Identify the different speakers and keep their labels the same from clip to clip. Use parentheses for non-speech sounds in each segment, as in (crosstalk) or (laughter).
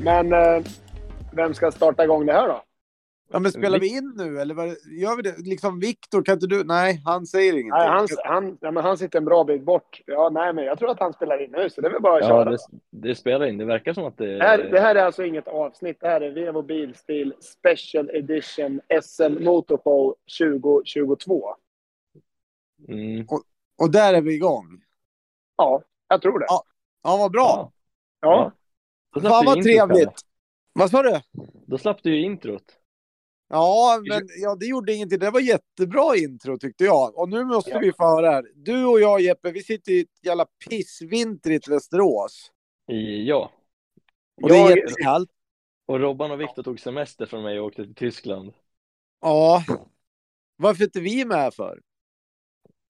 Speaker 1: Men eh, vem ska starta igång det här då?
Speaker 2: Ja, men spelar vi in nu eller vad, gör vi det? Liksom Viktor, kan inte du? Nej, han säger ingenting.
Speaker 1: Nej, han, han, ja, men han sitter en bra bit bort. Ja, nej, men jag tror att han spelar in nu, så det är väl bara att
Speaker 3: Ja,
Speaker 1: köra.
Speaker 3: det, det spelar in. Det verkar som att det...
Speaker 1: Det här, det här är alltså inget avsnitt. Det här är Vevo Bilstil Special Edition SM Motorshow 2022.
Speaker 3: Mm.
Speaker 2: Och där är vi igång.
Speaker 1: Ja, jag tror det.
Speaker 2: Ja. Ja, vad bra.
Speaker 1: Ja,
Speaker 3: Då slapp
Speaker 2: Fan
Speaker 3: du
Speaker 2: vad
Speaker 3: introt, Kalle.
Speaker 2: trevligt. Vad sa du?
Speaker 3: Då slapp du ju introt.
Speaker 2: Ja, men ja, det gjorde ingenting. Det var jättebra intro tyckte jag. Och nu måste
Speaker 1: Ja.
Speaker 2: vi få höra här. Du och jag Jeppe, vi sitter i ett jävla pissvintrigt Västerås.
Speaker 3: I, ja.
Speaker 2: Och det är
Speaker 1: Jag-
Speaker 2: jättekallt.
Speaker 3: Och Robban och Viktor tog semester från mig och åkte till Tyskland.
Speaker 2: Ja. Varför är inte vi med för?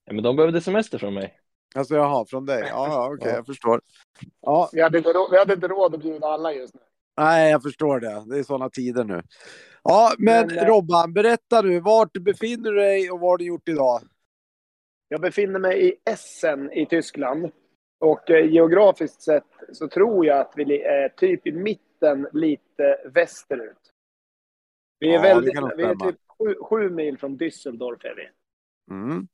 Speaker 3: Ja, men de behövde semester från mig.
Speaker 2: Alltså jaha, från dig. Ja, ja okej,
Speaker 3: Ja.
Speaker 2: jag förstår. Ja,
Speaker 1: vi, hade inte råd, vi hade inte råd att bjuda alla just nu.
Speaker 2: nej, jag förstår det. Det är sådana tider nu. Ja, men,
Speaker 1: Men, eh,
Speaker 2: Robban, berätta nu. Vart befinner du dig och vad har du gjort idag?
Speaker 1: Jag befinner mig i Essen i Tyskland. Och eh, geografiskt sett så tror jag att vi li- är typ i mitten lite västerut. Vi är,
Speaker 2: Ja, det
Speaker 1: väldigt,
Speaker 2: kan nog
Speaker 1: vi är
Speaker 2: stämma.
Speaker 1: typ sju, sju mil från Düsseldorf. Är vi.
Speaker 2: Mm.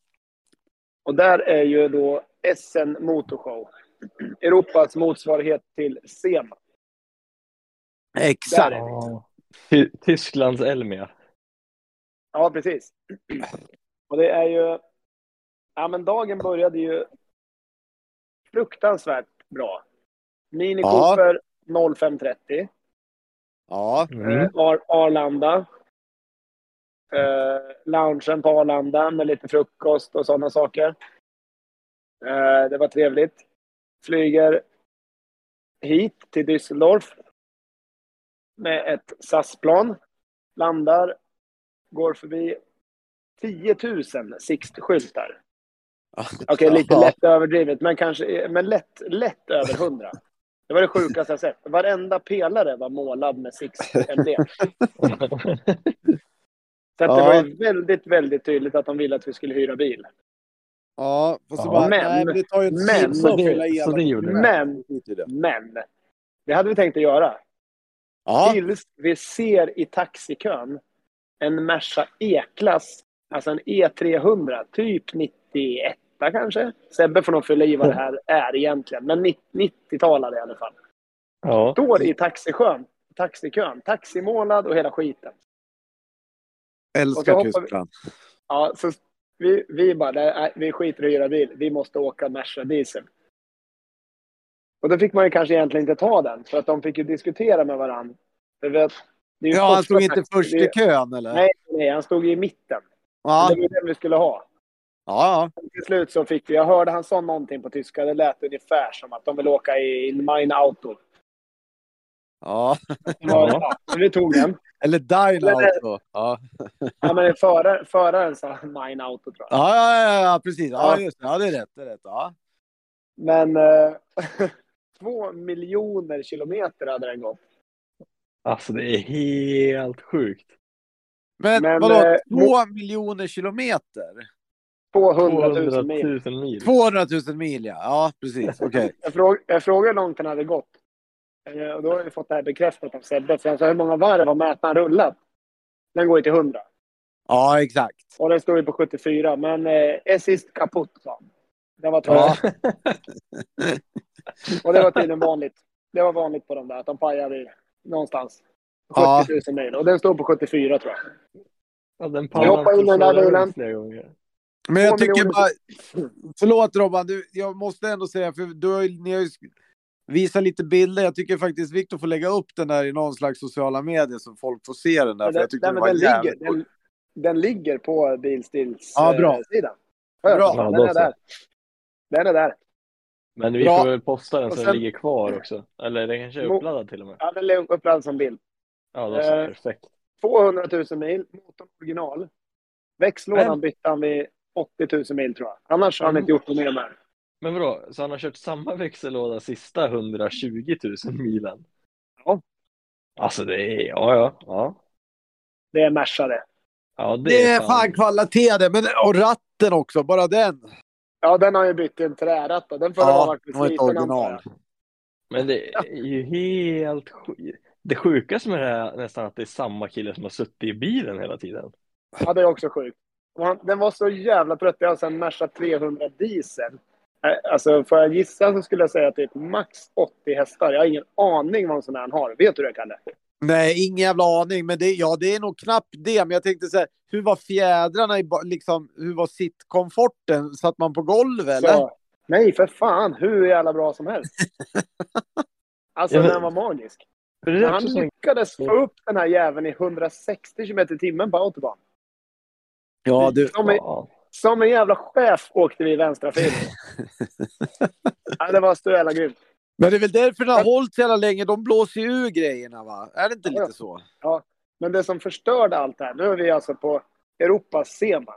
Speaker 1: Och där är ju då Essen Motorshow. (clears throat) Europas motsvarighet till SEMA. Där
Speaker 2: Exakt.
Speaker 1: är vi.
Speaker 3: Ty- Tysklands Elmia.
Speaker 1: Ja, precis. (clears throat) Och det är ju... Ja, men dagen började ju fruktansvärt bra. Mini
Speaker 2: Ja.
Speaker 1: Cooper 0530.
Speaker 2: Ja,
Speaker 3: Mm.
Speaker 1: Eh, Ar- Arlanda. Eh, loungen på Arlanda med lite frukost och sådana saker. Eh, det var trevligt. Flyger hit till Düsseldorf med ett SAS-plan. Landar, går förbi 10 000 Sixt-skyltar. Okej, lite
Speaker 2: Ja.
Speaker 1: lätt överdrivet, men, kanske, men lätt, lätt över 100. Det var det sjukaste jag sett. Varenda pelare var målad med Sixt-emblem. Så att det
Speaker 2: Ja.
Speaker 1: var ju väldigt, väldigt tydligt att de ville att vi skulle hyra bil.
Speaker 2: Ja, och så
Speaker 3: Ja,
Speaker 2: bara,
Speaker 1: men-
Speaker 2: nej, men det tar ju en
Speaker 1: men-
Speaker 2: timme
Speaker 3: så
Speaker 2: att
Speaker 3: det-
Speaker 2: fylla i
Speaker 3: så
Speaker 2: alla
Speaker 3: det gjorde vi.
Speaker 1: Men,
Speaker 2: skit i det.
Speaker 1: men. Det hade vi tänkt att göra.
Speaker 2: Ja,
Speaker 1: Tills vi ser i taxikön en Merca E-klass, alltså en E300, typ 91 kanske. Sebbe får nog fylla i vad det
Speaker 2: (laughs)
Speaker 1: här är egentligen, men 90-talare i alla fall.
Speaker 3: (laughs) Ja.
Speaker 1: Står i taxikön, taxikön, taximålad och hela skiten. och så
Speaker 2: älskar
Speaker 1: hoppar vi-
Speaker 2: Tyskland.
Speaker 1: Ja, så vi, vi bara, nej, vi skiter i att hyra bil. Vi måste åka Merca diesel. Och då fick man ju kanske egentligen inte ta den, för att de fick ju diskutera med varandra. För vet, det är ju
Speaker 2: Ja, han
Speaker 1: första
Speaker 2: stod inte
Speaker 1: taxi-
Speaker 2: först
Speaker 1: det-
Speaker 2: i kön eller?
Speaker 1: Nej, nej, han stod ju i mitten.
Speaker 2: Ja,
Speaker 1: Det var ju den vi skulle ha.
Speaker 2: ja,
Speaker 1: Till slut så fick vi, jag hörde han sa någonting på tyska, det lät ungefär som att de vill åka i in mein auto.
Speaker 2: ja.
Speaker 1: Det var,
Speaker 3: Ja.
Speaker 1: ja. men vi tog den.
Speaker 2: Eller Dine
Speaker 1: Men-
Speaker 2: Auto. Ja,
Speaker 1: Ja, men förar, föraren sa mein auto tror jag.
Speaker 2: ja, ja, ja, ja precis. Ja,
Speaker 1: Ja.
Speaker 2: just det. Ja, det är rätt. Det är rätt. Ja.
Speaker 1: Men eh, (laughs) två miljoner kilometer hade den gått.
Speaker 3: Alltså det är helt sjukt.
Speaker 2: Men,
Speaker 1: Men,
Speaker 2: vadå,
Speaker 1: eh,
Speaker 2: två miljoner kilometer?
Speaker 1: 200
Speaker 3: 200
Speaker 1: 000 mil.
Speaker 3: 000 mil.
Speaker 2: 200 000 mil, ja. Ja, precis. Okej.
Speaker 1: Jag, fråg, jag frågade hur långt den hade gått. Eh, och då har vi fått det här bekräftat av Sebbe. För han sa hur många varv har mätaren rullat? Den går ju till 100.
Speaker 2: Ja, exakt.
Speaker 1: Och den står ju på 74. Men eh, es ist kaputt, sa han. Den var trött.
Speaker 2: Ja.
Speaker 1: (laughs) Och det var tydligen vanligt. Det var vanligt på de där, att de pajar i någonstans. 70
Speaker 2: Ja.
Speaker 1: 000 mil. Och den står på 74 tror jag.
Speaker 3: Ja, den
Speaker 1: Jag hoppar in i den där bilen.
Speaker 3: flera gånger.
Speaker 2: Men jag
Speaker 1: Två
Speaker 2: tycker
Speaker 1: miljoner-
Speaker 2: bara... Förlåt Robban, du, jag måste ändå säga, för du har, ju- ni har ju sk- visat lite bilder. Jag tycker faktiskt Viktor får lägga upp den där i någon slags sociala medier så folk får se den där.
Speaker 1: Men
Speaker 2: för jag
Speaker 1: den,
Speaker 2: tyckte
Speaker 1: nej,
Speaker 2: det
Speaker 1: men
Speaker 2: var
Speaker 1: den, ligger,
Speaker 2: jävligt
Speaker 1: den, den ligger på Bilstils
Speaker 2: Ja, bra.
Speaker 1: eh, sida.
Speaker 2: Bra.
Speaker 3: Ja,
Speaker 1: Den
Speaker 3: då
Speaker 1: är
Speaker 3: så.
Speaker 1: där. Den är där.
Speaker 3: Men vi
Speaker 2: Bra.
Speaker 3: får väl posta den
Speaker 1: Och
Speaker 3: så
Speaker 1: sen-
Speaker 3: den ligger kvar också. Eller den kanske är
Speaker 1: Mo-
Speaker 3: uppladdad till och med.
Speaker 1: Ja, den är uppladdad som bild.
Speaker 3: Ja, då så.
Speaker 1: Eh,
Speaker 3: Perfekt.
Speaker 1: 200 000 mil, motorn original. Växellådan
Speaker 3: Men-
Speaker 1: bytte han vid 80 000 mil tror jag. Annars har han
Speaker 3: Mm.
Speaker 1: inte gjort något mer med den.
Speaker 3: Men vadå, så han har kört samma växellåda sista 120 000 milen?
Speaker 1: Ja.
Speaker 3: Alltså det är, ja ja. Ja,
Speaker 1: Det är Merca det.
Speaker 3: ja det,
Speaker 2: Det är fan kvalitet det, men, och ratten också, bara den.
Speaker 1: Ja, den har ju bytt till en träratt. då. Den förra
Speaker 2: Ja,
Speaker 1: var
Speaker 2: den var inte
Speaker 1: sliten, antar
Speaker 2: original.
Speaker 1: jag.
Speaker 3: Men det är ju helt sjukt. Det sjukaste med det här är nästan att det är samma kille som har suttit i bilen hela tiden.
Speaker 1: Ja, det är också sjukt. Och han- Den var så jävla trött. Jag har sen Merca 300 diesel. Eh, Alltså, får jag gissa så skulle jag säga typ max 80 hästar. Jag har ingen aning vad en sån här har. Vet du det, Kalle?
Speaker 2: Nej, ingen jävla aning. Men det, ja, det är nog knappt det. Men jag tänkte så här, hur var fjädrarna i ba- liksom, hur var sittkomforten? Satt man på golvet eller?
Speaker 1: Så, nej, för fan. Hur jävla bra som helst. Alltså,
Speaker 3: Ja, men-
Speaker 1: den var magisk.
Speaker 3: För det
Speaker 1: Men
Speaker 3: är
Speaker 1: han
Speaker 3: också så...
Speaker 1: lyckades få upp den här jäveln i 160 km i timmen på autobahn.
Speaker 2: Ja, du.
Speaker 1: Som en,
Speaker 3: Ja.
Speaker 1: som en jävla chef åkte vi i vänsterfil. ja, det var så jävla grymt.
Speaker 2: Men det är väl därför den har hållit så jävla länge. De blåser ju ur grejerna va? Är det inte
Speaker 1: Ja.
Speaker 2: lite så?
Speaker 1: Men det som förstörde allt det här, nu är vi alltså på Europas sema.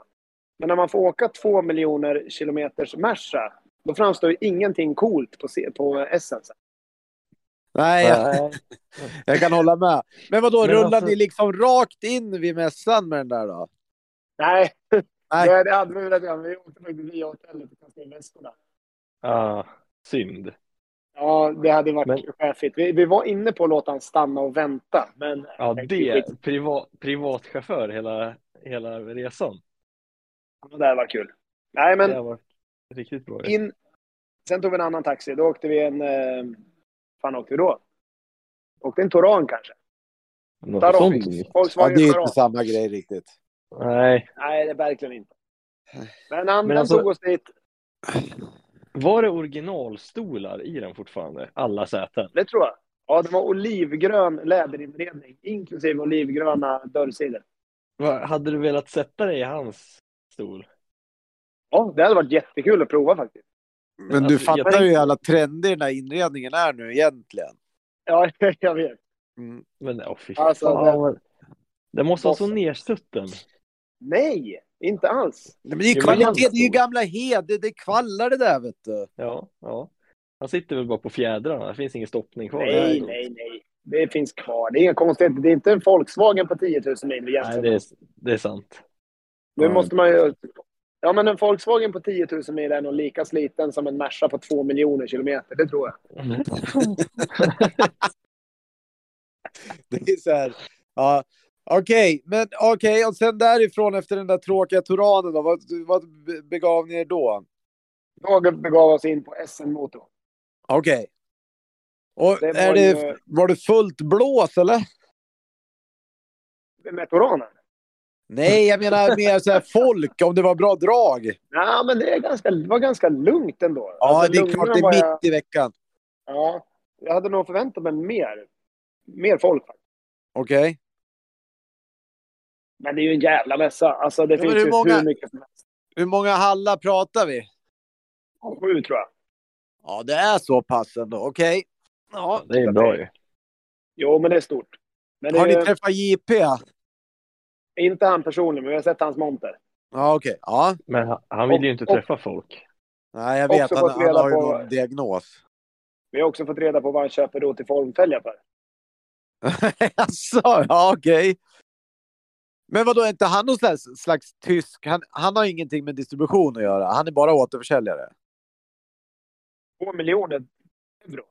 Speaker 1: Men när man får åka två miljoner kilometers Merca, då framstår ju ingenting coolt på, se- på Essence.
Speaker 2: Nej, jag,
Speaker 3: Nej.
Speaker 2: jag kan hålla med. Men vadå,
Speaker 3: Men
Speaker 2: rullade
Speaker 3: alltså-
Speaker 2: ni liksom rakt in vid mässan med den där då?
Speaker 1: Nej,
Speaker 2: Nej.
Speaker 1: Det, det hade vi velat göra. men Vi åkte faktiskt via hotellet och kastade in väskorna.
Speaker 3: Ah, synd.
Speaker 1: Ja, det hade varit
Speaker 3: Men-
Speaker 1: chefigt. Vi, vi var inne på att låta han stanna och vänta, men
Speaker 3: Ja,
Speaker 1: Nej,
Speaker 3: det.
Speaker 1: skit.
Speaker 3: Priva, privatchaufför hela, hela resan.
Speaker 1: det där var kul. Nej, men
Speaker 3: Det har varit riktigt bra.
Speaker 1: in... Sen tog vi en annan taxi. Då åkte vi en... Eh... fan åkte vi då? Åkte en Toran kanske?
Speaker 3: Något
Speaker 1: Taron.
Speaker 3: sånt.
Speaker 2: Ja,
Speaker 1: Volkswagen
Speaker 2: det är ju
Speaker 1: Taran.
Speaker 2: inte samma grej riktigt.
Speaker 3: Nej.
Speaker 1: Nej, det är verkligen inte. Men han,
Speaker 3: Men
Speaker 1: han
Speaker 3: alltså-
Speaker 1: tog oss dit.
Speaker 3: Var det originalstolar i den fortfarande? Alla säten?
Speaker 1: Det tror jag. Ja, det var olivgrön läderinredning, inklusive olivgröna dörrsidor.
Speaker 3: Va- Hade du velat sätta dig i hans stol?
Speaker 1: Ja, det hade varit jättekul att prova faktiskt.
Speaker 2: Men du
Speaker 3: Alltså, jag
Speaker 2: fattar ju hur jävla trendig den här inredningen är nu egentligen.
Speaker 1: Ja, jag vet.
Speaker 2: Mm.
Speaker 3: Men åh fy
Speaker 1: Alltså,
Speaker 3: fan.
Speaker 1: det-
Speaker 3: vad- Det måste vara så
Speaker 1: Bossen.
Speaker 3: nersutten.
Speaker 1: Nej, inte alls.
Speaker 2: Nej, Men det är ju
Speaker 3: Jo, men
Speaker 2: kvalitet,
Speaker 3: han-
Speaker 2: det är ju gamla heder, det är kvallar det där vet du. (laughs)
Speaker 3: Ja, ja. Han sitter väl bara på fjädrarna. Det finns ingen stoppning kvar.
Speaker 1: Nej,
Speaker 3: där.
Speaker 1: nej, nej. Det finns kvar. Det är inga konstigheter. Det är inte en Volkswagen på 10 000 mil vi jämför
Speaker 3: Nej, det är, det är sant.
Speaker 1: Nu måste man ju... Ja, men en Volkswagen på 10 000 mil är nog lika sliten som en Merca på 2 miljoner kilometer. Det tror jag.
Speaker 2: Det är så här, ja. Okej, men okej, och sen därifrån efter den där tråkiga Toranen då, vad, vad begav ni er då?
Speaker 1: Då begav oss in på SM Motor.
Speaker 2: Okej. Och
Speaker 1: Det var
Speaker 2: är det,
Speaker 1: ju-
Speaker 2: var det fullt blås eller?
Speaker 1: Med Toranen.
Speaker 2: Nej, jag menar mer så här folk, om det var bra drag.
Speaker 1: Ja, men det, är ganska, det var ganska lugnt ändå.
Speaker 2: Ja,
Speaker 1: Alltså,
Speaker 2: det är
Speaker 1: lugnare
Speaker 2: klart,
Speaker 1: än
Speaker 2: det är
Speaker 1: vad
Speaker 2: mitt
Speaker 1: jag,
Speaker 2: i veckan.
Speaker 1: ja, jag hade nog förväntat mig mer. Mer folk faktiskt.
Speaker 2: Okej.
Speaker 1: Men det är ju en jävla mässa. Alltså, det
Speaker 2: Ja, men
Speaker 1: finns
Speaker 2: hur
Speaker 1: ju
Speaker 2: många-
Speaker 1: hur mycket som helst.
Speaker 2: Hur många hallar pratar vi?
Speaker 1: Sju, tror jag.
Speaker 2: Ja, det är så pass ändå. Okej.
Speaker 3: Ja, (laughs) det är bra ju.
Speaker 1: Jo, men det är stort. Men det
Speaker 2: Har
Speaker 1: är
Speaker 2: ni
Speaker 1: ju
Speaker 2: träffat JP?
Speaker 1: inte han personligen, men vi har sett hans monter.
Speaker 2: Ja, okej. Ja,
Speaker 3: Men han, han vill ju inte
Speaker 1: Och- och-
Speaker 3: träffa folk.
Speaker 2: nej, jag
Speaker 1: Också
Speaker 2: vet. Han,
Speaker 1: fått
Speaker 2: han
Speaker 1: reda
Speaker 2: har ju
Speaker 1: på-
Speaker 2: någon diagnos. (laughs)
Speaker 1: Vi har också fått reda på vad han köper då till formfälgar för.
Speaker 2: Jaså, ja okej. Men vadå, är inte han någon slags, slags tysk? Han, han har ingenting med distribution att göra. Han är bara återförsäljare.
Speaker 1: Två miljoner euro.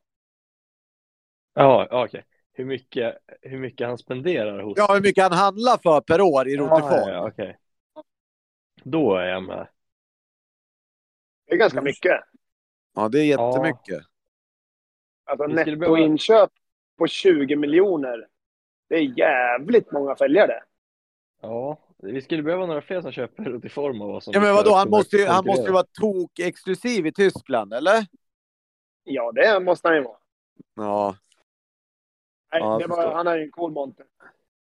Speaker 3: Ja, ja, okej. Hur mycket, hur mycket han spenderar hos...
Speaker 2: Ja, hur mycket han handlar för per år i Rotterdam.
Speaker 3: ja, ja, okej. Då är jag med.
Speaker 1: Det är ganska
Speaker 2: Mm.
Speaker 1: mycket.
Speaker 2: Ja, det är jättemycket.
Speaker 1: Alltså
Speaker 3: Vi skulle behöva-
Speaker 1: nettoinköp på 20 miljoner. Det är jävligt många följare.
Speaker 3: Ja, vi skulle behöva några fler som köper (laughs) Rutiform av oss. om
Speaker 2: Ja,
Speaker 3: vi
Speaker 2: men
Speaker 3: ska
Speaker 2: vadå, han
Speaker 3: kunna
Speaker 2: måste ju, han måste ju
Speaker 3: konkurrera.
Speaker 2: vara tok-exklusiv i Tyskland, eller?
Speaker 1: Ja, det måste han ju vara.
Speaker 2: Ja.
Speaker 1: Nej,
Speaker 2: Ja, jag
Speaker 1: det var,
Speaker 2: förstår.
Speaker 1: han är ju en cool monter.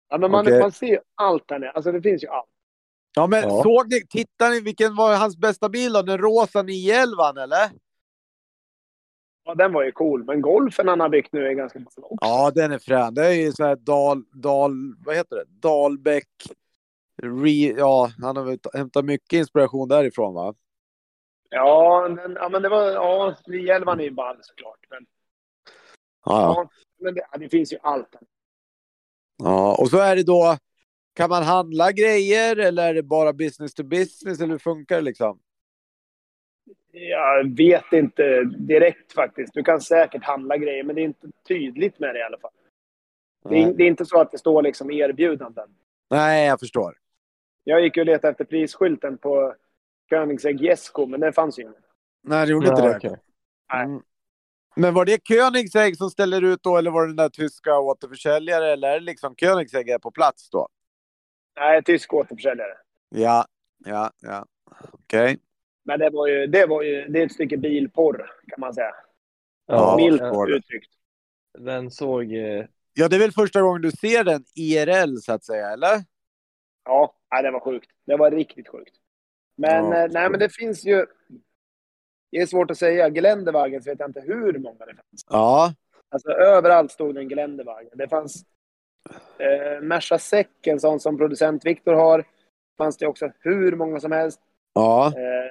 Speaker 1: Ja, men man,
Speaker 2: Okej.
Speaker 1: man ser ju allt här nere. Alltså det finns ju allt.
Speaker 2: Ja, men
Speaker 3: Ja.
Speaker 2: såg ni, tittade ni, vilken var hans bästa bil då? Den rosa 911, eller?
Speaker 1: Ja, den var ju cool. Men golfen han har byggt nu är ganska bra också.
Speaker 2: Ja, den är frän. Det är ju så här Dal... Dal vad heter det? Dalbäck... Re, ja, han har väl t- hämtat mycket inspiration därifrån va?
Speaker 1: Ja, men, ja, men det var... Ja, Nielvan är ju ball såklart. Men,
Speaker 2: Ja,
Speaker 1: ja. men det, ja, det finns ju allt här.
Speaker 2: ja. Och så är det då... Kan man handla grejer eller är det bara business to business eller hur funkar det liksom?
Speaker 1: Jag vet inte direkt faktiskt. Du kan säkert handla grejer, men det är inte tydligt med det i alla fall. Det är, det är inte så att det står liksom erbjudanden.
Speaker 2: Nej, jag förstår.
Speaker 1: Jag gick ju och letade efter prisskylten på Königsegg Jesko, men den fanns ju inte.
Speaker 2: Nej, det gjorde inte det. Mm. Men var det Königsegg som ställer ut då, eller var det den där tyska återförsäljare, eller är det liksom Königsegg är på plats då?
Speaker 1: Nej, tysk återförsäljare.
Speaker 2: Ja, ja, ja. Okej.
Speaker 1: Men det var ju, det var ju, det är ett stycke bilporr kan man säga.
Speaker 2: Ja,
Speaker 1: Milt
Speaker 2: det var det.
Speaker 1: uttryckt.
Speaker 3: eh, Den såg... eh,
Speaker 2: Ja, det är väl första gången du ser den IRL så att säga, eller?
Speaker 1: Ja, nej, det var sjukt. Det var riktigt sjukt. Men,
Speaker 2: Ja.
Speaker 1: eh, nej, men det finns ju... Det är svårt att säga. Geländewagens vet jag inte hur många det fanns.
Speaker 2: Ja.
Speaker 1: Alltså, överallt stod det en Geländewagen. Det fanns eh, Merca Säck, en sån som producent Viktor har. fanns det också hur många som helst.
Speaker 2: Ja.
Speaker 1: Eh,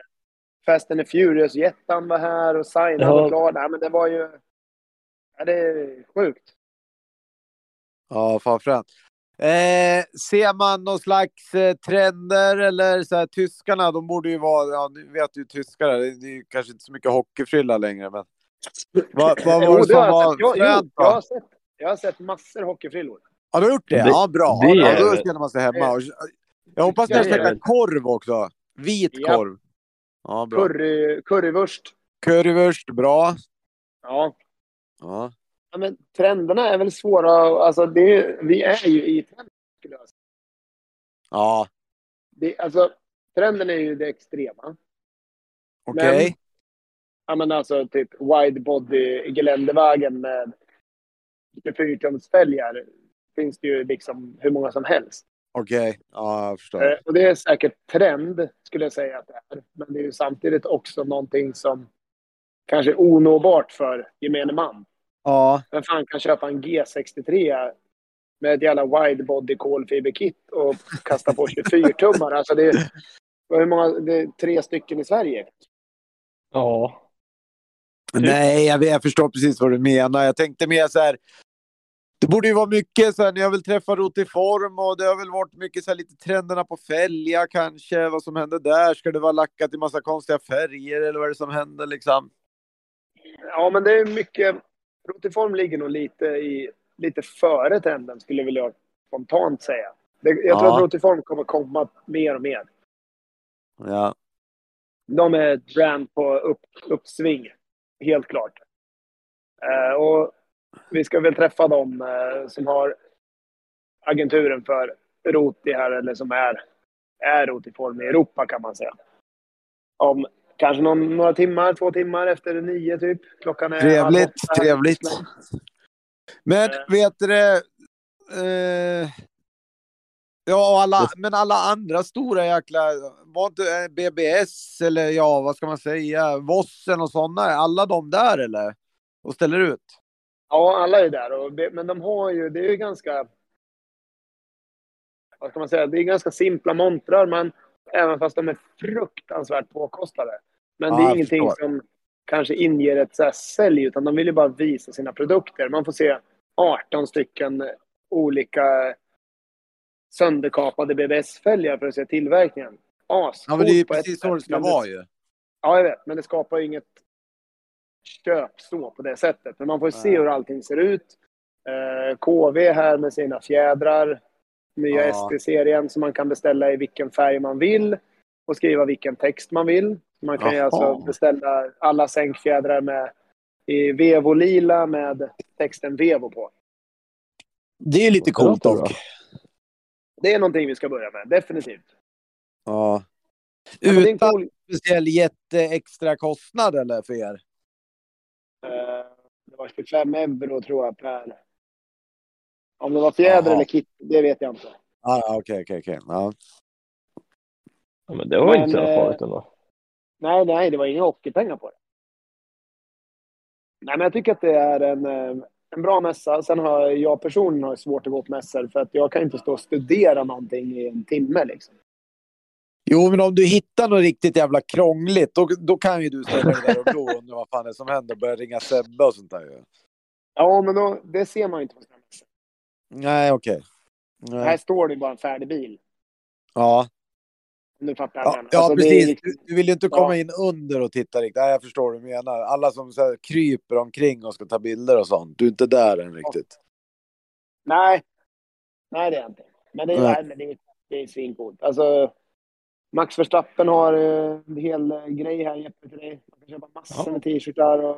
Speaker 1: Fast and the Furious-jättan var här och Sign
Speaker 3: Ja.
Speaker 1: var klar. Nej, men det var ju... Ja, det är sjukt.
Speaker 2: Ja, fan fränt. Eh, ser man någon slags eh, trender eller så här, tyskarna, de borde ju vara, ja nu vet ju tyskar, det det är ju kanske inte så mycket hockeyfrilla längre men. Vad vad
Speaker 1: Jo,
Speaker 2: var det som
Speaker 1: Eh, har jag,
Speaker 2: var
Speaker 1: sett. jag, jo,
Speaker 2: fränt
Speaker 1: jag, har
Speaker 2: då?
Speaker 1: sett, jag har sett massor hockeyfrillor.
Speaker 2: Har du gjort det?
Speaker 3: Det-
Speaker 2: Ja, bra.
Speaker 3: det
Speaker 2: ja,
Speaker 3: är-
Speaker 2: då känner man sig hemma. Och, jag hoppas ni har
Speaker 1: Det Eh, är-
Speaker 2: käkat korv också. Vit
Speaker 1: Ja.
Speaker 2: korv. Ja, bra.
Speaker 1: Curry, currywurst.
Speaker 2: Currywurst, bra.
Speaker 1: Ja.
Speaker 2: Ja.
Speaker 1: Ja, men trenderna är väl svåra. Alltså, det, är ju- vi är ju i trenden, skulle jag säga.
Speaker 2: Ja,
Speaker 1: Det, alltså, trenden är ju det extrema.
Speaker 2: okej.
Speaker 1: Men- Ja, men alltså typ wide body geländevägen med 24-tumsfälgar finns det ju liksom hur många som helst.
Speaker 2: Okej. Ja, jag förstår.
Speaker 1: Eh, och det är säkert trend, skulle jag säga att det är. Men det är ju samtidigt också någonting som kanske är onåbart för gemene man.
Speaker 2: Ja.
Speaker 1: Vem fan kan köpa en G63 med ett jävla widebody kolfiberkit och kasta på 24-tummar? Alltså det, är- hur många, det är tre stycken i Sverige.
Speaker 3: Ja.
Speaker 2: Nej, jag, vet- jag förstår precis vad du menar. Jag tänkte mer så här. Det borde ju vara mycket så här, ni har väl träffat Rotiform och det har väl varit mycket så här lite trenderna på fälgar kanske, vad som hände där. Ska det vara lackat i massa konstiga färger eller vad är det som händer liksom?
Speaker 1: Ja, men det är mycket... Rotiform ligger nog lite, i, lite före trenden, skulle jag vilja spontant säga. Det, jag tror
Speaker 2: Ja.
Speaker 1: att Rotiform kommer komma mer och mer.
Speaker 2: Ja.
Speaker 1: De är ett brand på upp, uppsving, helt klart. Eh, och vi ska väl träffa dem eh, som har agenturen för Roti här, eller som är, är Rotiform i Europa kan man säga. Om kanske någon, några timmar, två timmar efter nio typ. Klockan är halv
Speaker 2: Trevligt,
Speaker 1: åtta här.
Speaker 2: trevligt. Men
Speaker 1: Eh.
Speaker 2: vet du det? Eh, ja, och alla, men alla andra stora jäkla, var inte eh, BBS eller ja, vad ska man säga, Vossen och sådana, alla de där eller? Och ställer ut?
Speaker 1: Ja, alla är där. Och, men de har ju, det är ju ganska... Vad ska man säga? Det är ganska simpla montrar, men även fast de är fruktansvärt påkostade. Men
Speaker 2: Ja,
Speaker 1: det är
Speaker 2: jag
Speaker 1: ingenting
Speaker 2: förstår.
Speaker 1: som kanske inger ett så här sälj, utan de vill ju bara visa sina produkter. Man får se 18 stycken olika sönderkapade BBS-fälgar för att se tillverkningen. Ascoolt
Speaker 2: Ja, men det är ju
Speaker 1: på ett
Speaker 2: precis så det
Speaker 1: sätt,
Speaker 2: ska
Speaker 1: men det-
Speaker 2: vara ju.
Speaker 1: Ja, jag vet. Men det skapar ju inget köp så på det sättet. Men man får ju se
Speaker 2: Nej.
Speaker 1: hur allting ser ut. Eh, KV här med sina fjädrar. Nya
Speaker 2: Ja.
Speaker 1: ST-serien som man kan beställa i vilken färg man vill och skriva vilken text man vill. Man kan ju
Speaker 2: Jaha.
Speaker 1: alltså beställa alla sänkfjädrar med i vevolila med texten vevo på.
Speaker 2: Det är ju lite coolt
Speaker 3: Det låter
Speaker 2: dock.
Speaker 3: bra.
Speaker 1: Det är någonting vi ska börja med, definitivt.
Speaker 2: Ja.
Speaker 1: Ja, men det är en
Speaker 2: Utan
Speaker 1: cool-
Speaker 2: speciell jätteextra kostnad eller för er?
Speaker 1: Eh, Det var 25 euro tror jag per... Om det var fjäder
Speaker 2: Jaha.
Speaker 1: eller kit, det vet jag inte.
Speaker 2: Ja, ja, okej, okej, okej. Ja.
Speaker 3: ja, men det var
Speaker 1: Men,
Speaker 3: inte så
Speaker 1: eh, (laughs)
Speaker 3: farligt ändå.
Speaker 1: Nej, nej, det var inga hockeypengar på det. Nej, men jag tycker att det är en, eh, en bra mässa. Sen har jag personligen har svårt att gå på mässor för att jag kan inte stå och studera någonting i en timme. Liksom.
Speaker 2: Jo, men om du hittar något riktigt jävla krångligt, då, då kan ju du ställa dig där och glo
Speaker 1: (laughs)
Speaker 2: och undra vad fan det är som händer och börja ringa Sebbe och sånt där ju.
Speaker 1: Ja, men då, det ser man ju inte på sådana mässor.
Speaker 2: Nej, okej.
Speaker 1: Här
Speaker 2: Nej.
Speaker 1: står det ju bara en färdig bil.
Speaker 2: Ja,
Speaker 1: Om du fattar vad jag
Speaker 2: ja,
Speaker 1: menar.
Speaker 2: ja
Speaker 1: Alltså, det är
Speaker 2: precis.
Speaker 1: liksom-
Speaker 2: Du, du vill ju inte
Speaker 1: Ja.
Speaker 2: komma in under och titta riktigt. Nej, jag förstår vad du menar. Alla som så här, kryper omkring och ska ta bilder och sånt. Du är inte där än riktigt.
Speaker 1: Nej, nej det är jag inte. Men det är,
Speaker 2: Nej.
Speaker 1: nej. men det är, det är svincoolt. Alltså, Max Verstappen har eh, en hel eh, grej här Jeppe till dig. Man kan köpa massor
Speaker 3: Ja.
Speaker 1: med t-shirtar. Och,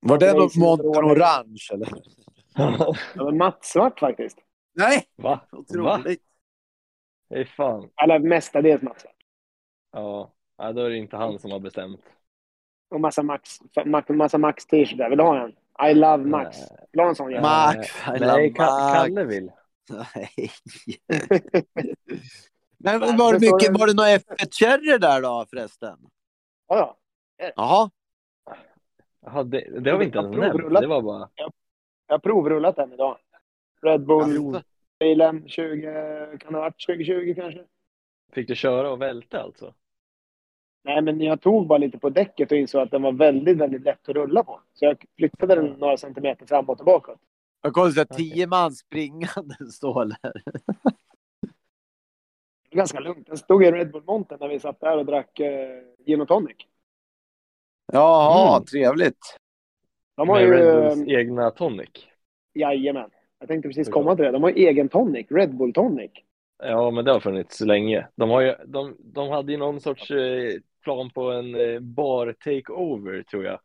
Speaker 2: Var den
Speaker 1: Nej,
Speaker 2: av Monter
Speaker 1: Sinterå.
Speaker 2: Orange eller?
Speaker 1: ja, men mattsvart faktiskt.
Speaker 2: Nej!
Speaker 3: Va? Va?
Speaker 2: Otroligt.
Speaker 3: Hej fan.
Speaker 1: Eller mestadels mattsvart.
Speaker 3: Ja. ja, då är det inte han som har bestämt.
Speaker 1: Och massa Max, Max, massa Max t-shirtar. Vill du ha en? I love Max. Vill du ha en sån? jävel?
Speaker 2: Max,
Speaker 3: Nej,
Speaker 2: I love
Speaker 3: Eh, Nej Ka-
Speaker 2: Max. (laughs)
Speaker 3: Kalle vill.
Speaker 2: Nej. Men var det,
Speaker 1: Men så-
Speaker 2: mycket, var det några F1-kärror där då förresten?
Speaker 1: Ja, ja.
Speaker 2: Jaha.
Speaker 3: Jaha, det, det har vi inte ens
Speaker 1: Jag har
Speaker 3: nämnt.
Speaker 1: provrullat.
Speaker 3: Det var bara...
Speaker 1: Jag har provrullat den idag. Red
Speaker 2: Jaså.
Speaker 1: Bull-bilen 20, kan det ha varit 2020 kanske?
Speaker 3: Fick du köra och välta alltså?
Speaker 1: Nej, men jag tog bara lite på däcket och insåg att den var väldigt, väldigt lätt att rulla på. Så jag flyttade den några centimeter framåt och bakåt.
Speaker 2: Jag kommer såhär
Speaker 3: Okej.
Speaker 2: tio man springande (laughs) står där.
Speaker 1: Det var ganska lugnt. Den stod i Red Bull-montern när vi satt där och drack eh, gin och tonic.
Speaker 2: Jaha,
Speaker 3: Mm.
Speaker 2: trevligt.
Speaker 1: De har
Speaker 3: Med
Speaker 1: ju...
Speaker 3: Red Bulls
Speaker 1: eh,
Speaker 3: egna tonic.
Speaker 1: Jajamän. Jag tänkte precis
Speaker 3: Såklart.
Speaker 1: komma till det. De har ju egen tonic, Red Bull tonic.
Speaker 3: Ja, men det har funnits så länge. De, har ju, de, de hade ju någon sorts eh, plan på en eh, bar takeover, tror jag.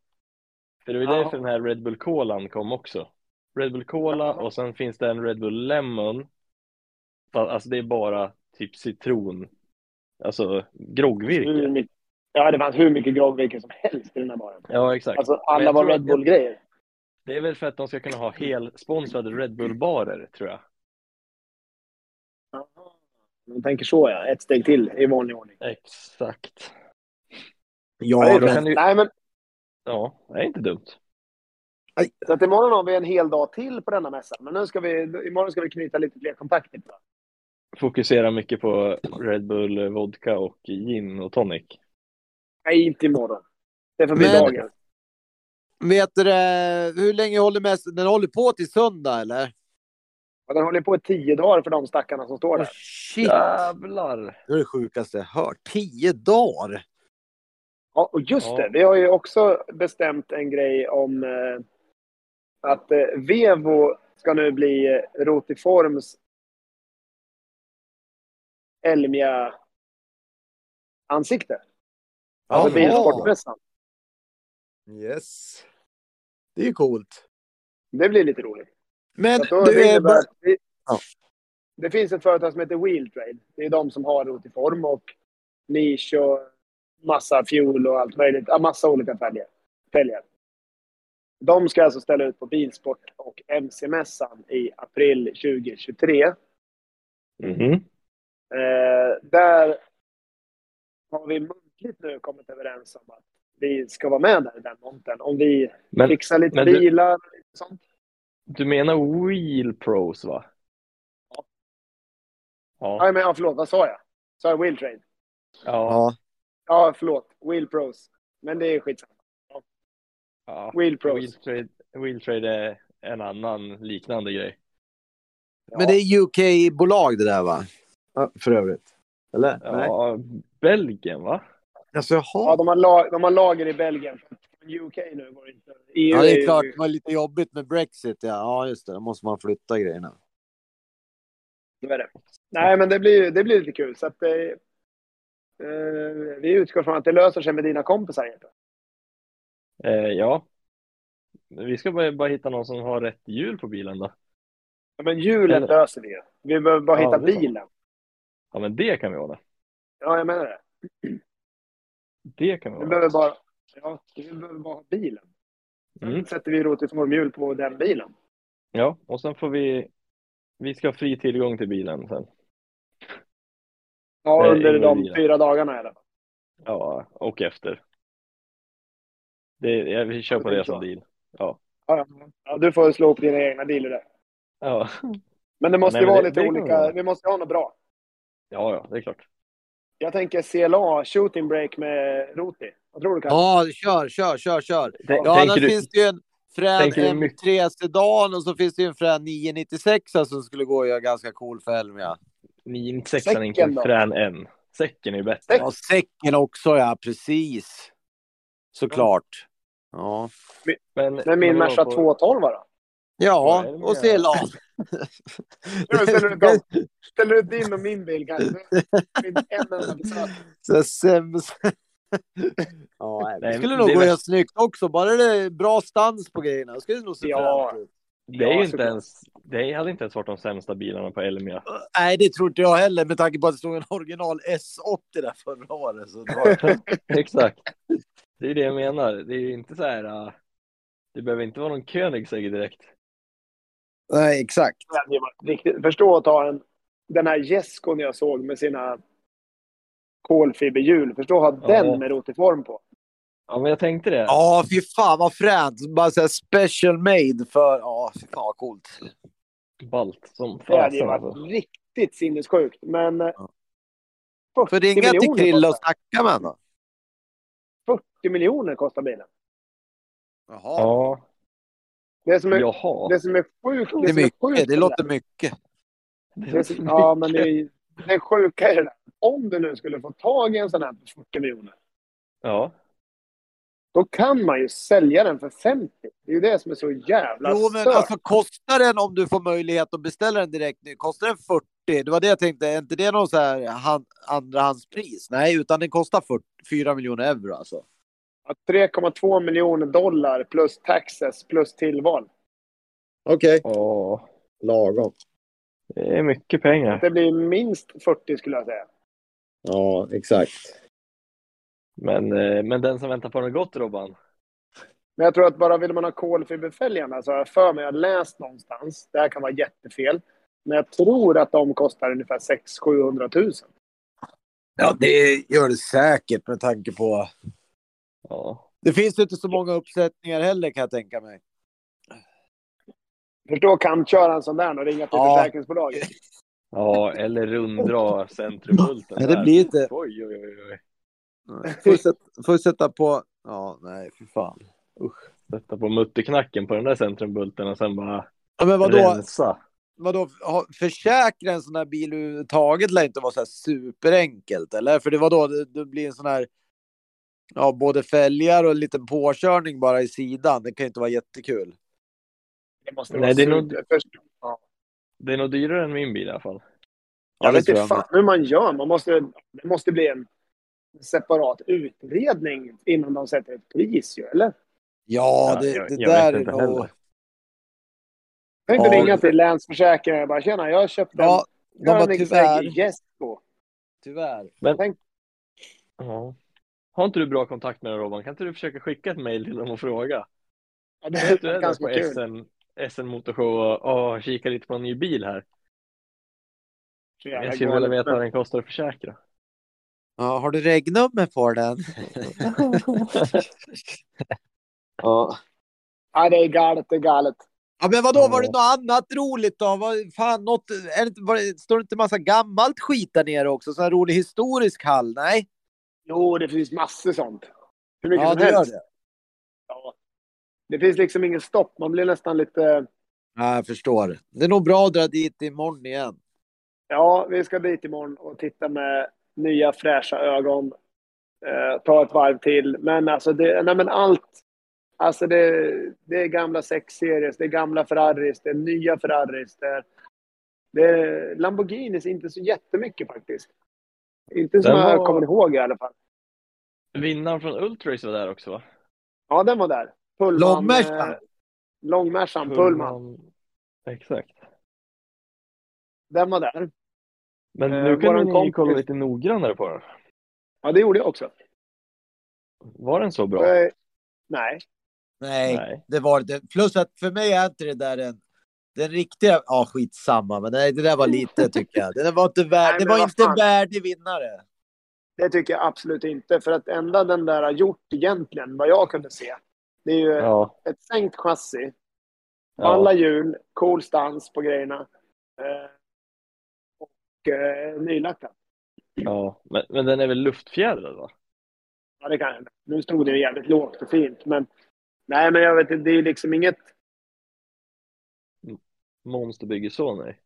Speaker 3: För det var
Speaker 1: Ja.
Speaker 3: därför den här Red Bull Colan kom också. Red Bull Cola
Speaker 1: Ja.
Speaker 3: och sen finns det en Red Bull Lemon. Fa- Alltså det är bara typ citron, alltså
Speaker 1: Hur
Speaker 3: groggvirke.
Speaker 1: mycket, ja, det fanns hur mycket groggvirke som helst i den här baren.
Speaker 3: Ja, exakt.
Speaker 1: Alltså,
Speaker 3: Men
Speaker 1: alla
Speaker 3: jag
Speaker 1: var
Speaker 3: tror
Speaker 1: Red
Speaker 3: att-
Speaker 1: Bull-grejer.
Speaker 3: Det är väl för att de ska kunna ha helsponsrade Red Bull-barer, tror jag.
Speaker 1: De tänker så, ja. Ett steg till i vanlig ordning.
Speaker 3: Exakt.
Speaker 1: Ja, det
Speaker 2: Ja,
Speaker 1: är
Speaker 3: då
Speaker 2: men
Speaker 3: kan du,
Speaker 1: Nej, men
Speaker 3: ja, det är inte dumt.
Speaker 1: Så att imorgon har vi en hel dag till på denna mässan. Men nu ska vi, imorgon ska vi knyta lite fler kontakter.
Speaker 3: Fokusera mycket på Red Bull eh, Vodka och gin och tonic.
Speaker 1: Nej, inte imorgon. Det får bli
Speaker 2: Men-
Speaker 1: dagen.
Speaker 2: vet du det, hur länge håller mässan? Den håller på till söndag eller?
Speaker 1: Och den håller på i tio dagar för de stackarna som står
Speaker 2: Åh
Speaker 1: där.
Speaker 2: Oh, shit!
Speaker 3: Jävlar!
Speaker 2: Det är det sjukaste jag hört. Tio dagar!
Speaker 1: Ja, och just
Speaker 3: Ja.
Speaker 1: det, vi har ju också bestämt en grej om eh, att eh, Vevo ska nu bli eh, Rotiforms Elmia-ansikte. Alltså
Speaker 3: Jaha.
Speaker 1: bilsportmässan.
Speaker 2: Yes. Det är ju coolt.
Speaker 1: Det blir lite roligt.
Speaker 2: Men
Speaker 1: Så att då-
Speaker 2: du, eh,
Speaker 1: det,
Speaker 2: är
Speaker 1: innebär
Speaker 2: bara...
Speaker 1: att vi,
Speaker 2: Ja.
Speaker 1: det finns ett företag som heter Wheeltrade. Det är de som har Rotiform och nisch och massa fuel och allt möjligt. Ja, massa olika fälgar. fälgar. De ska alltså ställa ut på Bilsport och MC-mässan i april 2023. Eh, Mm.
Speaker 3: Mhm.
Speaker 1: där har vi muntligt nu kommit överens om att vi ska vara med där i den montern. Om vi
Speaker 3: Men
Speaker 1: fixar lite
Speaker 3: men du-
Speaker 1: bilar och sånt.
Speaker 3: du menar Wheel Pros va?
Speaker 1: Ja.
Speaker 3: Ja.
Speaker 1: Ja, men, ja, förlåt. Vad sa jag? Sa jag Wheeltrade?
Speaker 3: Ja.
Speaker 2: ja.
Speaker 1: Ja, förlåt. Wheel Pros. Men det är skitsamma.
Speaker 3: ja.
Speaker 1: Wheel Pros.
Speaker 3: Wheel Trade, Wheel Trade är en annan liknande grej.
Speaker 2: Men det är UK-bolag det där va? Ja, för övrigt. Eller? Nej.
Speaker 3: Ja, Belgien va?
Speaker 2: Alltså
Speaker 1: Ja,
Speaker 2: jaha.
Speaker 1: de har, la- de har lager i Belgien. Men UK nu går det inte. EU
Speaker 2: Ja, det
Speaker 1: ju-
Speaker 2: är klart. Det var lite jobbigt med Brexit. Ja, ja just det. Då måste man flytta grejerna.
Speaker 1: det är det. Nej, men det blir, det blir lite kul. Så att, eh, eh, vi utgår från att det löser sig med dina kompisar. Inte?
Speaker 3: Eh, ja. Vi ska bara, bara hitta någon som har rätt hjul på bilen då.
Speaker 1: Ja, men julen
Speaker 3: Eller-
Speaker 1: löser vi ju. Vi behöver bara
Speaker 3: Ja,
Speaker 1: hitta
Speaker 3: det är sant.
Speaker 1: bilen.
Speaker 3: Ja men det kan vi ordna.
Speaker 1: Ja, jag menar det.
Speaker 3: Det kan
Speaker 1: Vi
Speaker 3: vi ordna.
Speaker 1: behöver bara, ja, vi behöver bara ha bilen. Sen
Speaker 3: Mm.
Speaker 1: sätter vi rotiformhjul på den bilen.
Speaker 3: Ja, och sen får vi Vi ska ha fri tillgång till bilen sen.
Speaker 1: Ja,
Speaker 3: Eh,
Speaker 1: under
Speaker 3: ingen
Speaker 1: de
Speaker 3: bilen.
Speaker 1: fyra dagarna i alla fall.
Speaker 3: Ja, och efter. Det, jag, vi kör
Speaker 1: Ja,
Speaker 3: på
Speaker 1: det är
Speaker 3: det som
Speaker 1: klart.
Speaker 3: deal.
Speaker 1: Ja, ja. ja, du får slå upp dina egna dealer där.
Speaker 3: Ja,
Speaker 1: Men det måste
Speaker 3: nej,
Speaker 1: ju
Speaker 3: men
Speaker 1: vara
Speaker 3: det-
Speaker 1: lite
Speaker 3: det kan vi
Speaker 1: olika.
Speaker 3: göra.
Speaker 1: Vi måste ha något bra.
Speaker 3: ja, ja det är klart.
Speaker 1: Jag tänker CLA, shooting break med Roti. Vad tror du Kalle?
Speaker 2: Ja, kör, kör, kör, kör.
Speaker 3: T-
Speaker 2: Ja,
Speaker 3: tänker
Speaker 2: annars
Speaker 3: du,
Speaker 2: finns det ju en frän
Speaker 3: tänker du mycket-
Speaker 2: M3 Sedan och så finns det ju en frän 996 som skulle gå att göra ganska cool för Elmia.
Speaker 3: 96 är
Speaker 1: Säcken
Speaker 3: inte
Speaker 1: då?
Speaker 3: frän än. Säcken är ju bättre.
Speaker 1: Säck?
Speaker 2: Ja, säcken också ja, precis. Såklart. Ja.
Speaker 3: Men,
Speaker 1: Men min
Speaker 3: vadå
Speaker 1: Merca
Speaker 3: på-
Speaker 1: 212 då?
Speaker 2: Ja,
Speaker 3: Vad är det med
Speaker 2: och se
Speaker 3: det?
Speaker 2: LAN.
Speaker 1: (laughs) Ja, men ställer du dem? Ställer du ut din och min bil kanske? Med en enda besök.
Speaker 2: (laughs) Så (laughs) sämst. ja, nej,
Speaker 3: Nej,
Speaker 2: det skulle
Speaker 3: men
Speaker 2: nog
Speaker 3: det är
Speaker 2: gå
Speaker 3: värst-
Speaker 2: göra snyggt också. Bara det är bra stans på grejerna. Det skulle nog se
Speaker 1: Ja.
Speaker 2: fränt ut.
Speaker 3: Det är
Speaker 1: Ja,
Speaker 3: ju inte
Speaker 1: såklart.
Speaker 3: ens, det hade inte ens varit de sämsta bilarna på Elmia. (laughs)
Speaker 2: Nej, det tror inte jag heller med tanke på att det stod en original S80 där förra året. Så det
Speaker 3: (laughs)
Speaker 2: var...
Speaker 3: Exakt. Det är det jag menar. Det är ju inte så här. äh, det behöver inte vara någon Koenigsegg direkt.
Speaker 2: Nej, exakt.
Speaker 1: Det hade ju varit riktigt- Förstå att ta en... Den här gäskon jag såg med sina kolfiberhjul. Förstå att ha
Speaker 3: Ja.
Speaker 1: den med rotiform på.
Speaker 3: Ja, men jag tänkte det.
Speaker 2: Ja, fy fan vad fränt. Bara så här special made för... Ja, fy fan vad coolt.
Speaker 3: Balt som
Speaker 1: Det hade ju
Speaker 3: fasen
Speaker 1: varit
Speaker 3: alltså.
Speaker 1: riktigt sinnessjukt. Men...
Speaker 2: Ja.
Speaker 1: 40
Speaker 2: Får ringa till
Speaker 1: miljoner
Speaker 2: Krille och
Speaker 1: kostar-
Speaker 2: snacka med honom.
Speaker 1: 40 miljoner kostar bilen.
Speaker 2: Jaha.
Speaker 3: Ja,
Speaker 1: Det som är,
Speaker 3: jaha.
Speaker 1: det som är sjukt...
Speaker 2: Det är
Speaker 1: som
Speaker 2: mycket.
Speaker 1: sjukt
Speaker 2: Det
Speaker 1: med
Speaker 2: låter mycket.
Speaker 1: Det är så- ja, men det, är- det sjuka är det där. Om du nu skulle få tag i en sån här för 40 miljoner,
Speaker 3: (laughs) Ja,
Speaker 1: då kan man ju sälja den för 50. Det är ju det som är så jävla
Speaker 2: Jo, men
Speaker 1: stört.
Speaker 2: alltså kostar den om du får möjlighet att beställa den direkt nu? Kostar den 40? Det var det jag tänkte. Är inte det någon så här han, andrahandspris? Nej, utan den kostar 40, 4 miljoner euro alltså.
Speaker 1: Att 3,2 miljoner dollar plus taxes plus tillval.
Speaker 2: Okej.
Speaker 3: ja.
Speaker 2: Lagom.
Speaker 3: Det är mycket pengar.
Speaker 1: Det blir minst 40 skulle jag säga.
Speaker 2: Ja, exakt.
Speaker 3: Men, eh, men den som väntar på något gott Robban.
Speaker 1: Men jag tror att bara vill man ha kolfiberfälgarna så har jag för mig, jag har läst någonstans, det här kan vara jättefel, men jag tror att de kostar ungefär 600 000.
Speaker 2: Ja, det gör det säkert med tanke på...
Speaker 3: Ja,
Speaker 2: Det finns ju inte så många uppsättningar heller kan jag tänka mig.
Speaker 1: Förstå kampköra en sån där och ringa till
Speaker 2: Ja.
Speaker 1: försäkringsbolaget.
Speaker 3: ja
Speaker 1: (laughs)
Speaker 3: eller runddra centrumbulten.
Speaker 2: Nej, det
Speaker 3: där.
Speaker 2: blir inte...
Speaker 3: Oj, oj, oj, oj.
Speaker 2: Får ju sätta, får ju sätta på... Ja, nej, för fan.
Speaker 3: Sätta på mutterknacken på den där centrumbulten och sen bara
Speaker 2: Ja, men vadå?
Speaker 3: rensa.
Speaker 2: Vadå, ha- försäkra en sån här bil överhuvudtaget lär inte vara så här superenkelt, eller? För det var då det, det blir en sån här, ja, både fälgar och en liten påkörning bara i sidan. Det kan ju inte vara jättekul.
Speaker 1: Det måste
Speaker 3: Nej,
Speaker 1: vara
Speaker 3: det är nog-
Speaker 1: super- först- ja.
Speaker 3: Det är nog dyrare än min bil i alla fall.
Speaker 1: Jag vet
Speaker 2: tror
Speaker 1: inte fan hur man gör. Man måste, det måste bli en separat utredning innan de sätter ett pris ju, eller?
Speaker 2: Ja, det,
Speaker 3: jag,
Speaker 2: det
Speaker 3: jag
Speaker 2: där
Speaker 3: vet
Speaker 2: är
Speaker 3: inte
Speaker 2: nog...
Speaker 3: heller.
Speaker 1: Jag kan inte
Speaker 2: Ja.
Speaker 1: ringa till Länsförsäkringar och bara “Tjena, jag har köpt
Speaker 2: Ja,
Speaker 1: en
Speaker 2: de har tyvärr,
Speaker 1: Gästbo”.
Speaker 2: tyvärr.
Speaker 3: Ja. Har inte du bra kontakt med dem Robban? Kan inte du försöka skicka ett mejl till dem och fråga?
Speaker 1: Ja, det
Speaker 3: Vet du
Speaker 1: är
Speaker 3: är
Speaker 1: ganska
Speaker 3: där på
Speaker 1: kul.
Speaker 3: SN, SN Motorshow och åh, kika lite på en ny bil här.
Speaker 1: Så jävla
Speaker 3: Jag skulle vilja
Speaker 1: galet.
Speaker 3: veta vad den kostar att försäkra.
Speaker 2: Ja, har du regnummer på den? ja.
Speaker 1: (laughs) Ja, det är galet, det är galet.
Speaker 2: ja, men vadå, var det
Speaker 3: Ja.
Speaker 2: något annat roligt då? Vad, fan, något, är det, inte- var det, står det inte massa gammalt skit där nere också? Sån här rolig historisk hall? Nej?
Speaker 1: Jo, det finns massor sånt. Hur mycket
Speaker 2: Ja,
Speaker 1: som
Speaker 2: det gör
Speaker 1: helst.
Speaker 2: det.
Speaker 1: Ja. Det finns liksom ingen stopp. Man blir nästan lite...
Speaker 2: Ja, jag förstår. Det är nog bra att dra dit imorgon igen.
Speaker 1: Ja, vi ska dit imorgon och titta med nya fräscha ögon. Eh, ta ett varv till. Men alltså, det, nej, men allt. Alltså det, det är gamla 6 series, det är gamla Ferraris, det är nya Ferraris. Det är, det är Lamborghinis, inte så jättemycket faktiskt. Inte som
Speaker 3: Den
Speaker 1: jag
Speaker 3: var-
Speaker 1: kommer ihåg i alla fall.
Speaker 3: Vinnaren från Ultrace var där också va?
Speaker 1: Ja, den var där. Pullman,
Speaker 2: Långmärsan.
Speaker 1: eh, Långmärsan, Pullman.
Speaker 3: Exakt.
Speaker 1: Den var där.
Speaker 3: Men
Speaker 1: Eh,
Speaker 3: nu
Speaker 1: våran
Speaker 3: kan ni
Speaker 1: kompis-
Speaker 3: kolla lite noggrannare på den.
Speaker 1: Ja, det gjorde jag också.
Speaker 3: Var den så bra?
Speaker 1: Eh, nej.
Speaker 2: Nej,
Speaker 3: Nej.
Speaker 2: det var det. Plus att för mig är inte det där en... Den riktiga... Ja, skitsamma. Men nej, det där
Speaker 1: (laughs)
Speaker 2: var lite tycker jag. Det var inte värd...
Speaker 1: Nej,
Speaker 2: Det
Speaker 1: men
Speaker 2: var
Speaker 1: vad
Speaker 2: inte
Speaker 1: fan.
Speaker 2: värdig vinnare.
Speaker 1: Det tycker jag absolut inte. För att enda den där har gjort egentligen, vad jag kunde se, det är ju
Speaker 3: Ja.
Speaker 1: ett sänkt chassi, Eh, alla
Speaker 3: ja.
Speaker 1: hjul, cool stans på grejerna. Eh, och eh, nylackat.
Speaker 3: ja. Men, men den är väl luftfjädrad va?
Speaker 1: Ja, det kan jag. Nu stod det ju jävligt lågt och fint, men... Nej, men jag vet inte, det är liksom inget...
Speaker 3: Måns det bygger så nej.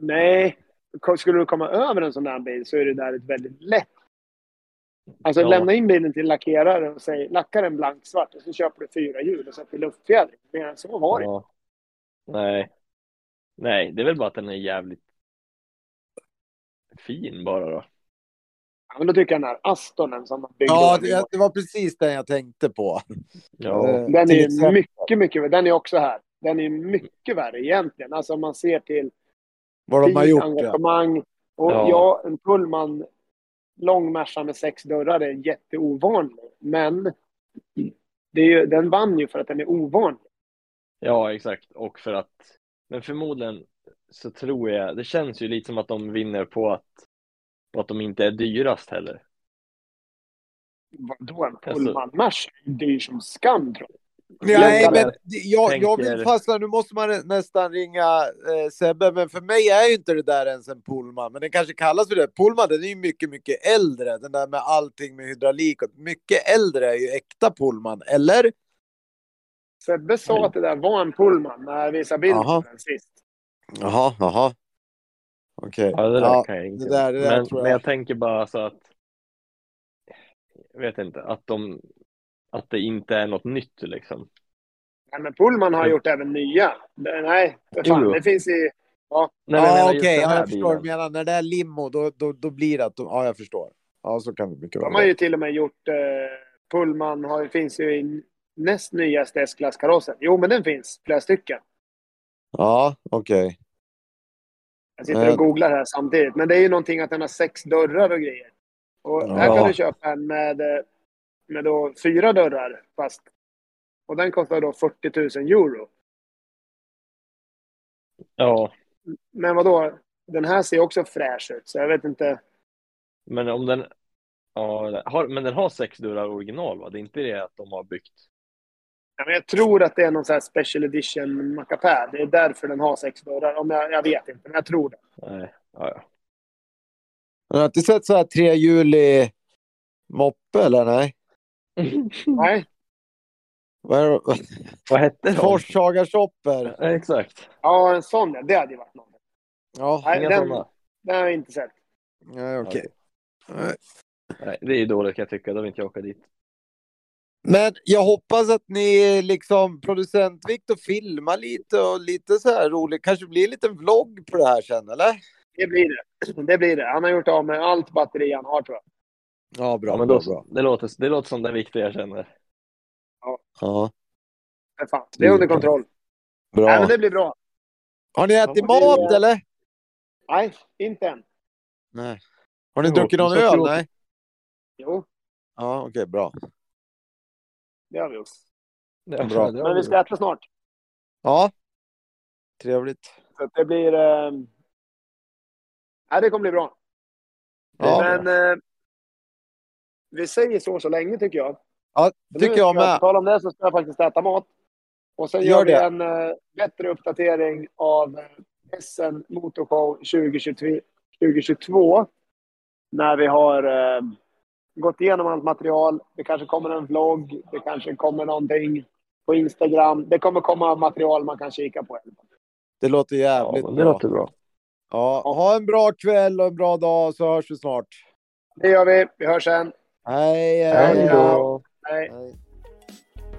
Speaker 1: Nej, ko- skulle du komma över en sån där bil så är det där ett väldigt lätt... Alltså,
Speaker 3: Ja.
Speaker 1: lämna in bilen till lackeraren och säg lacka den blanksvart och så köper du fyra hjul och sätter luftfjädring. Men så var det
Speaker 3: Ja. Nej. Nej, det är väl bara att den är jävligt fin bara då.
Speaker 1: Ja, men då tycker jag den här Astonen som de byggde
Speaker 2: Ja,
Speaker 1: om i
Speaker 2: det, det var precis den jag tänkte på.
Speaker 3: Ja,
Speaker 2: Eh,
Speaker 1: Den
Speaker 2: till
Speaker 1: är
Speaker 2: exempel.
Speaker 1: mycket, mycket värre. Den är också här. Den är mycket värre egentligen. Alltså om man ser till
Speaker 2: Vad de har
Speaker 1: tid,
Speaker 2: gjort. Ja.
Speaker 1: engagemang. Och
Speaker 3: Ja.
Speaker 1: ja, en Pullman lång Merca med sex dörrar är jätteovanlig. Men det är ju, den vann ju för att den är ovanlig.
Speaker 3: ja, exakt. Och för att, men förmodligen så tror jag, det känns ju lite som att de vinner på att, på att de inte är dyrast heller.
Speaker 1: Vadå, en
Speaker 3: Alltså-
Speaker 1: Pullman Merca är dyr som skam tror jag.
Speaker 2: Nej,
Speaker 3: Lättare.
Speaker 2: men det- jag, jag vill
Speaker 3: Tänker-
Speaker 2: fastna. Nu måste man nästan ringa eh, Sebbe, men för mig är ju inte det där ens en Pullman. Men den kanske kallas för det. Pullman, den är ju mycket, mycket äldre. Den där med allting med hydraulik. och- Mycket äldre är ju äkta Pullman, eller?
Speaker 1: Sebbe sa att det där var en Pullman när jag visade bilden
Speaker 2: Jaha.
Speaker 1: på den sist.
Speaker 2: Jaha, jaha. Okej.
Speaker 3: Ja, det där
Speaker 2: Ja,
Speaker 3: kan jag inte.
Speaker 2: det där- det där
Speaker 3: men,
Speaker 2: tror jag.
Speaker 3: men jag tänker bara så att, jag vet inte, att de, att det inte är något nytt liksom.
Speaker 1: Nej, men Pullman har
Speaker 3: Jo.
Speaker 1: gjort även nya. Det- Nej, för fan,
Speaker 3: Jo, jo.
Speaker 1: det finns i...
Speaker 3: Nej, men jag
Speaker 2: ja,
Speaker 3: menar
Speaker 2: okej.
Speaker 3: just den
Speaker 2: Ja,
Speaker 3: här
Speaker 2: jag förstår vad
Speaker 3: bilen.
Speaker 2: du menar. När det är limo, då, då, då blir det att... De, ja, jag förstår. Ja, så kan det mycket väl
Speaker 1: De har
Speaker 2: vara.
Speaker 1: ju till och med gjort... Eh, Pullman har, ju- finns ju i näst nyaste S-klasskarossen. Jo, men den finns. Flera stycken.
Speaker 2: Ja, okej.
Speaker 1: Jag sitter
Speaker 2: Eh.
Speaker 1: och googlar här samtidigt. Men det är ju någonting att den har sex dörrar och grejer. Och här
Speaker 2: Ja.
Speaker 1: kan du köpa en med, eh, med då fyra dörrar fast. Och den kostar då 40 000 euro.
Speaker 3: Ja,
Speaker 1: Men vadå? Den här ser också fräsch ut, så jag vet inte.
Speaker 3: men om den, ja, den har, men den har sex dörrar original va? Det är inte det att de har byggt.
Speaker 1: Ja, men Jag tror att det är någon sån här special edition Macapär. Det är därför den har sex dörrar. Om jag, jag vet inte, men jag tror det.
Speaker 3: Nej, eh, ja, ja.
Speaker 2: Har du inte sett så här trehjulig moppe, eller? Nej.
Speaker 1: Nej,
Speaker 2: Vad är det?
Speaker 3: Vad hette de?
Speaker 2: Forshagashopper.
Speaker 3: Ja, exakt.
Speaker 1: ja en sån ja. Det hade ju varit något.
Speaker 2: Ja,
Speaker 1: Nej,
Speaker 3: Inga
Speaker 1: den-
Speaker 3: sådana.
Speaker 1: Det har jag inte sett.
Speaker 2: nej, okej.
Speaker 3: Nej, det är ju dåligt kan jag tycka. Då vill inte jag åka dit.
Speaker 2: Men jag hoppas att ni liksom producent Viktor filmar lite och lite så här roligt. Kanske blir en liten vlogg på det här sen, eller?
Speaker 1: Det blir det. (clears throat) Det blir det. Han har gjort av med allt batteri han har, tror jag.
Speaker 2: Ja, bra.
Speaker 3: Ja, men då, det, låter, det låter som det viktiga jag känner.
Speaker 2: Ja,
Speaker 1: Men fan, det är under kontroll. Nej,
Speaker 2: bra.
Speaker 1: men det blir bra.
Speaker 2: Har ni ätit
Speaker 1: Ja, det-
Speaker 2: mat, eller?
Speaker 1: Nej, inte än.
Speaker 2: Nej. Har ni
Speaker 3: Jo,
Speaker 2: druckit någon
Speaker 3: så
Speaker 2: öl?
Speaker 3: tråkigt.
Speaker 2: Nej.
Speaker 1: Jo,
Speaker 2: Ja, okej, bra.
Speaker 1: det har vi gjort.
Speaker 3: Det är
Speaker 2: Bra.
Speaker 3: det har
Speaker 1: Men vi ska äta snart.
Speaker 2: Ja. Trevligt.
Speaker 1: Så att det blir... Eh... Nej, det kommer bli bra.
Speaker 2: Ja,
Speaker 1: men eh... vi säger så så länge, tycker jag.
Speaker 2: ja
Speaker 1: Nu
Speaker 2: tycker
Speaker 1: ska
Speaker 2: jag med.
Speaker 1: På tal om det så ska jag faktiskt äta mat. Och sen
Speaker 2: Gör
Speaker 1: gör, vi
Speaker 2: det.
Speaker 1: en eh, bättre uppdatering av eh, SN Motorshow 2022, 2022. När vi har eh, gått igenom allt material. Det kanske kommer en vlogg. Det kanske kommer någonting på Instagram. Det kommer komma material man kan kika på.
Speaker 2: Det låter jävligt
Speaker 3: Ja, men det
Speaker 2: bra.
Speaker 3: låter bra.
Speaker 2: Ja, ha en bra kväll och en bra dag så hörs vi snart.
Speaker 1: Det gör vi. Vi hörs sen.
Speaker 2: Hej, hej,
Speaker 3: Hej
Speaker 1: Hej
Speaker 2: hej.
Speaker 3: då.
Speaker 1: Hej.
Speaker 2: hej.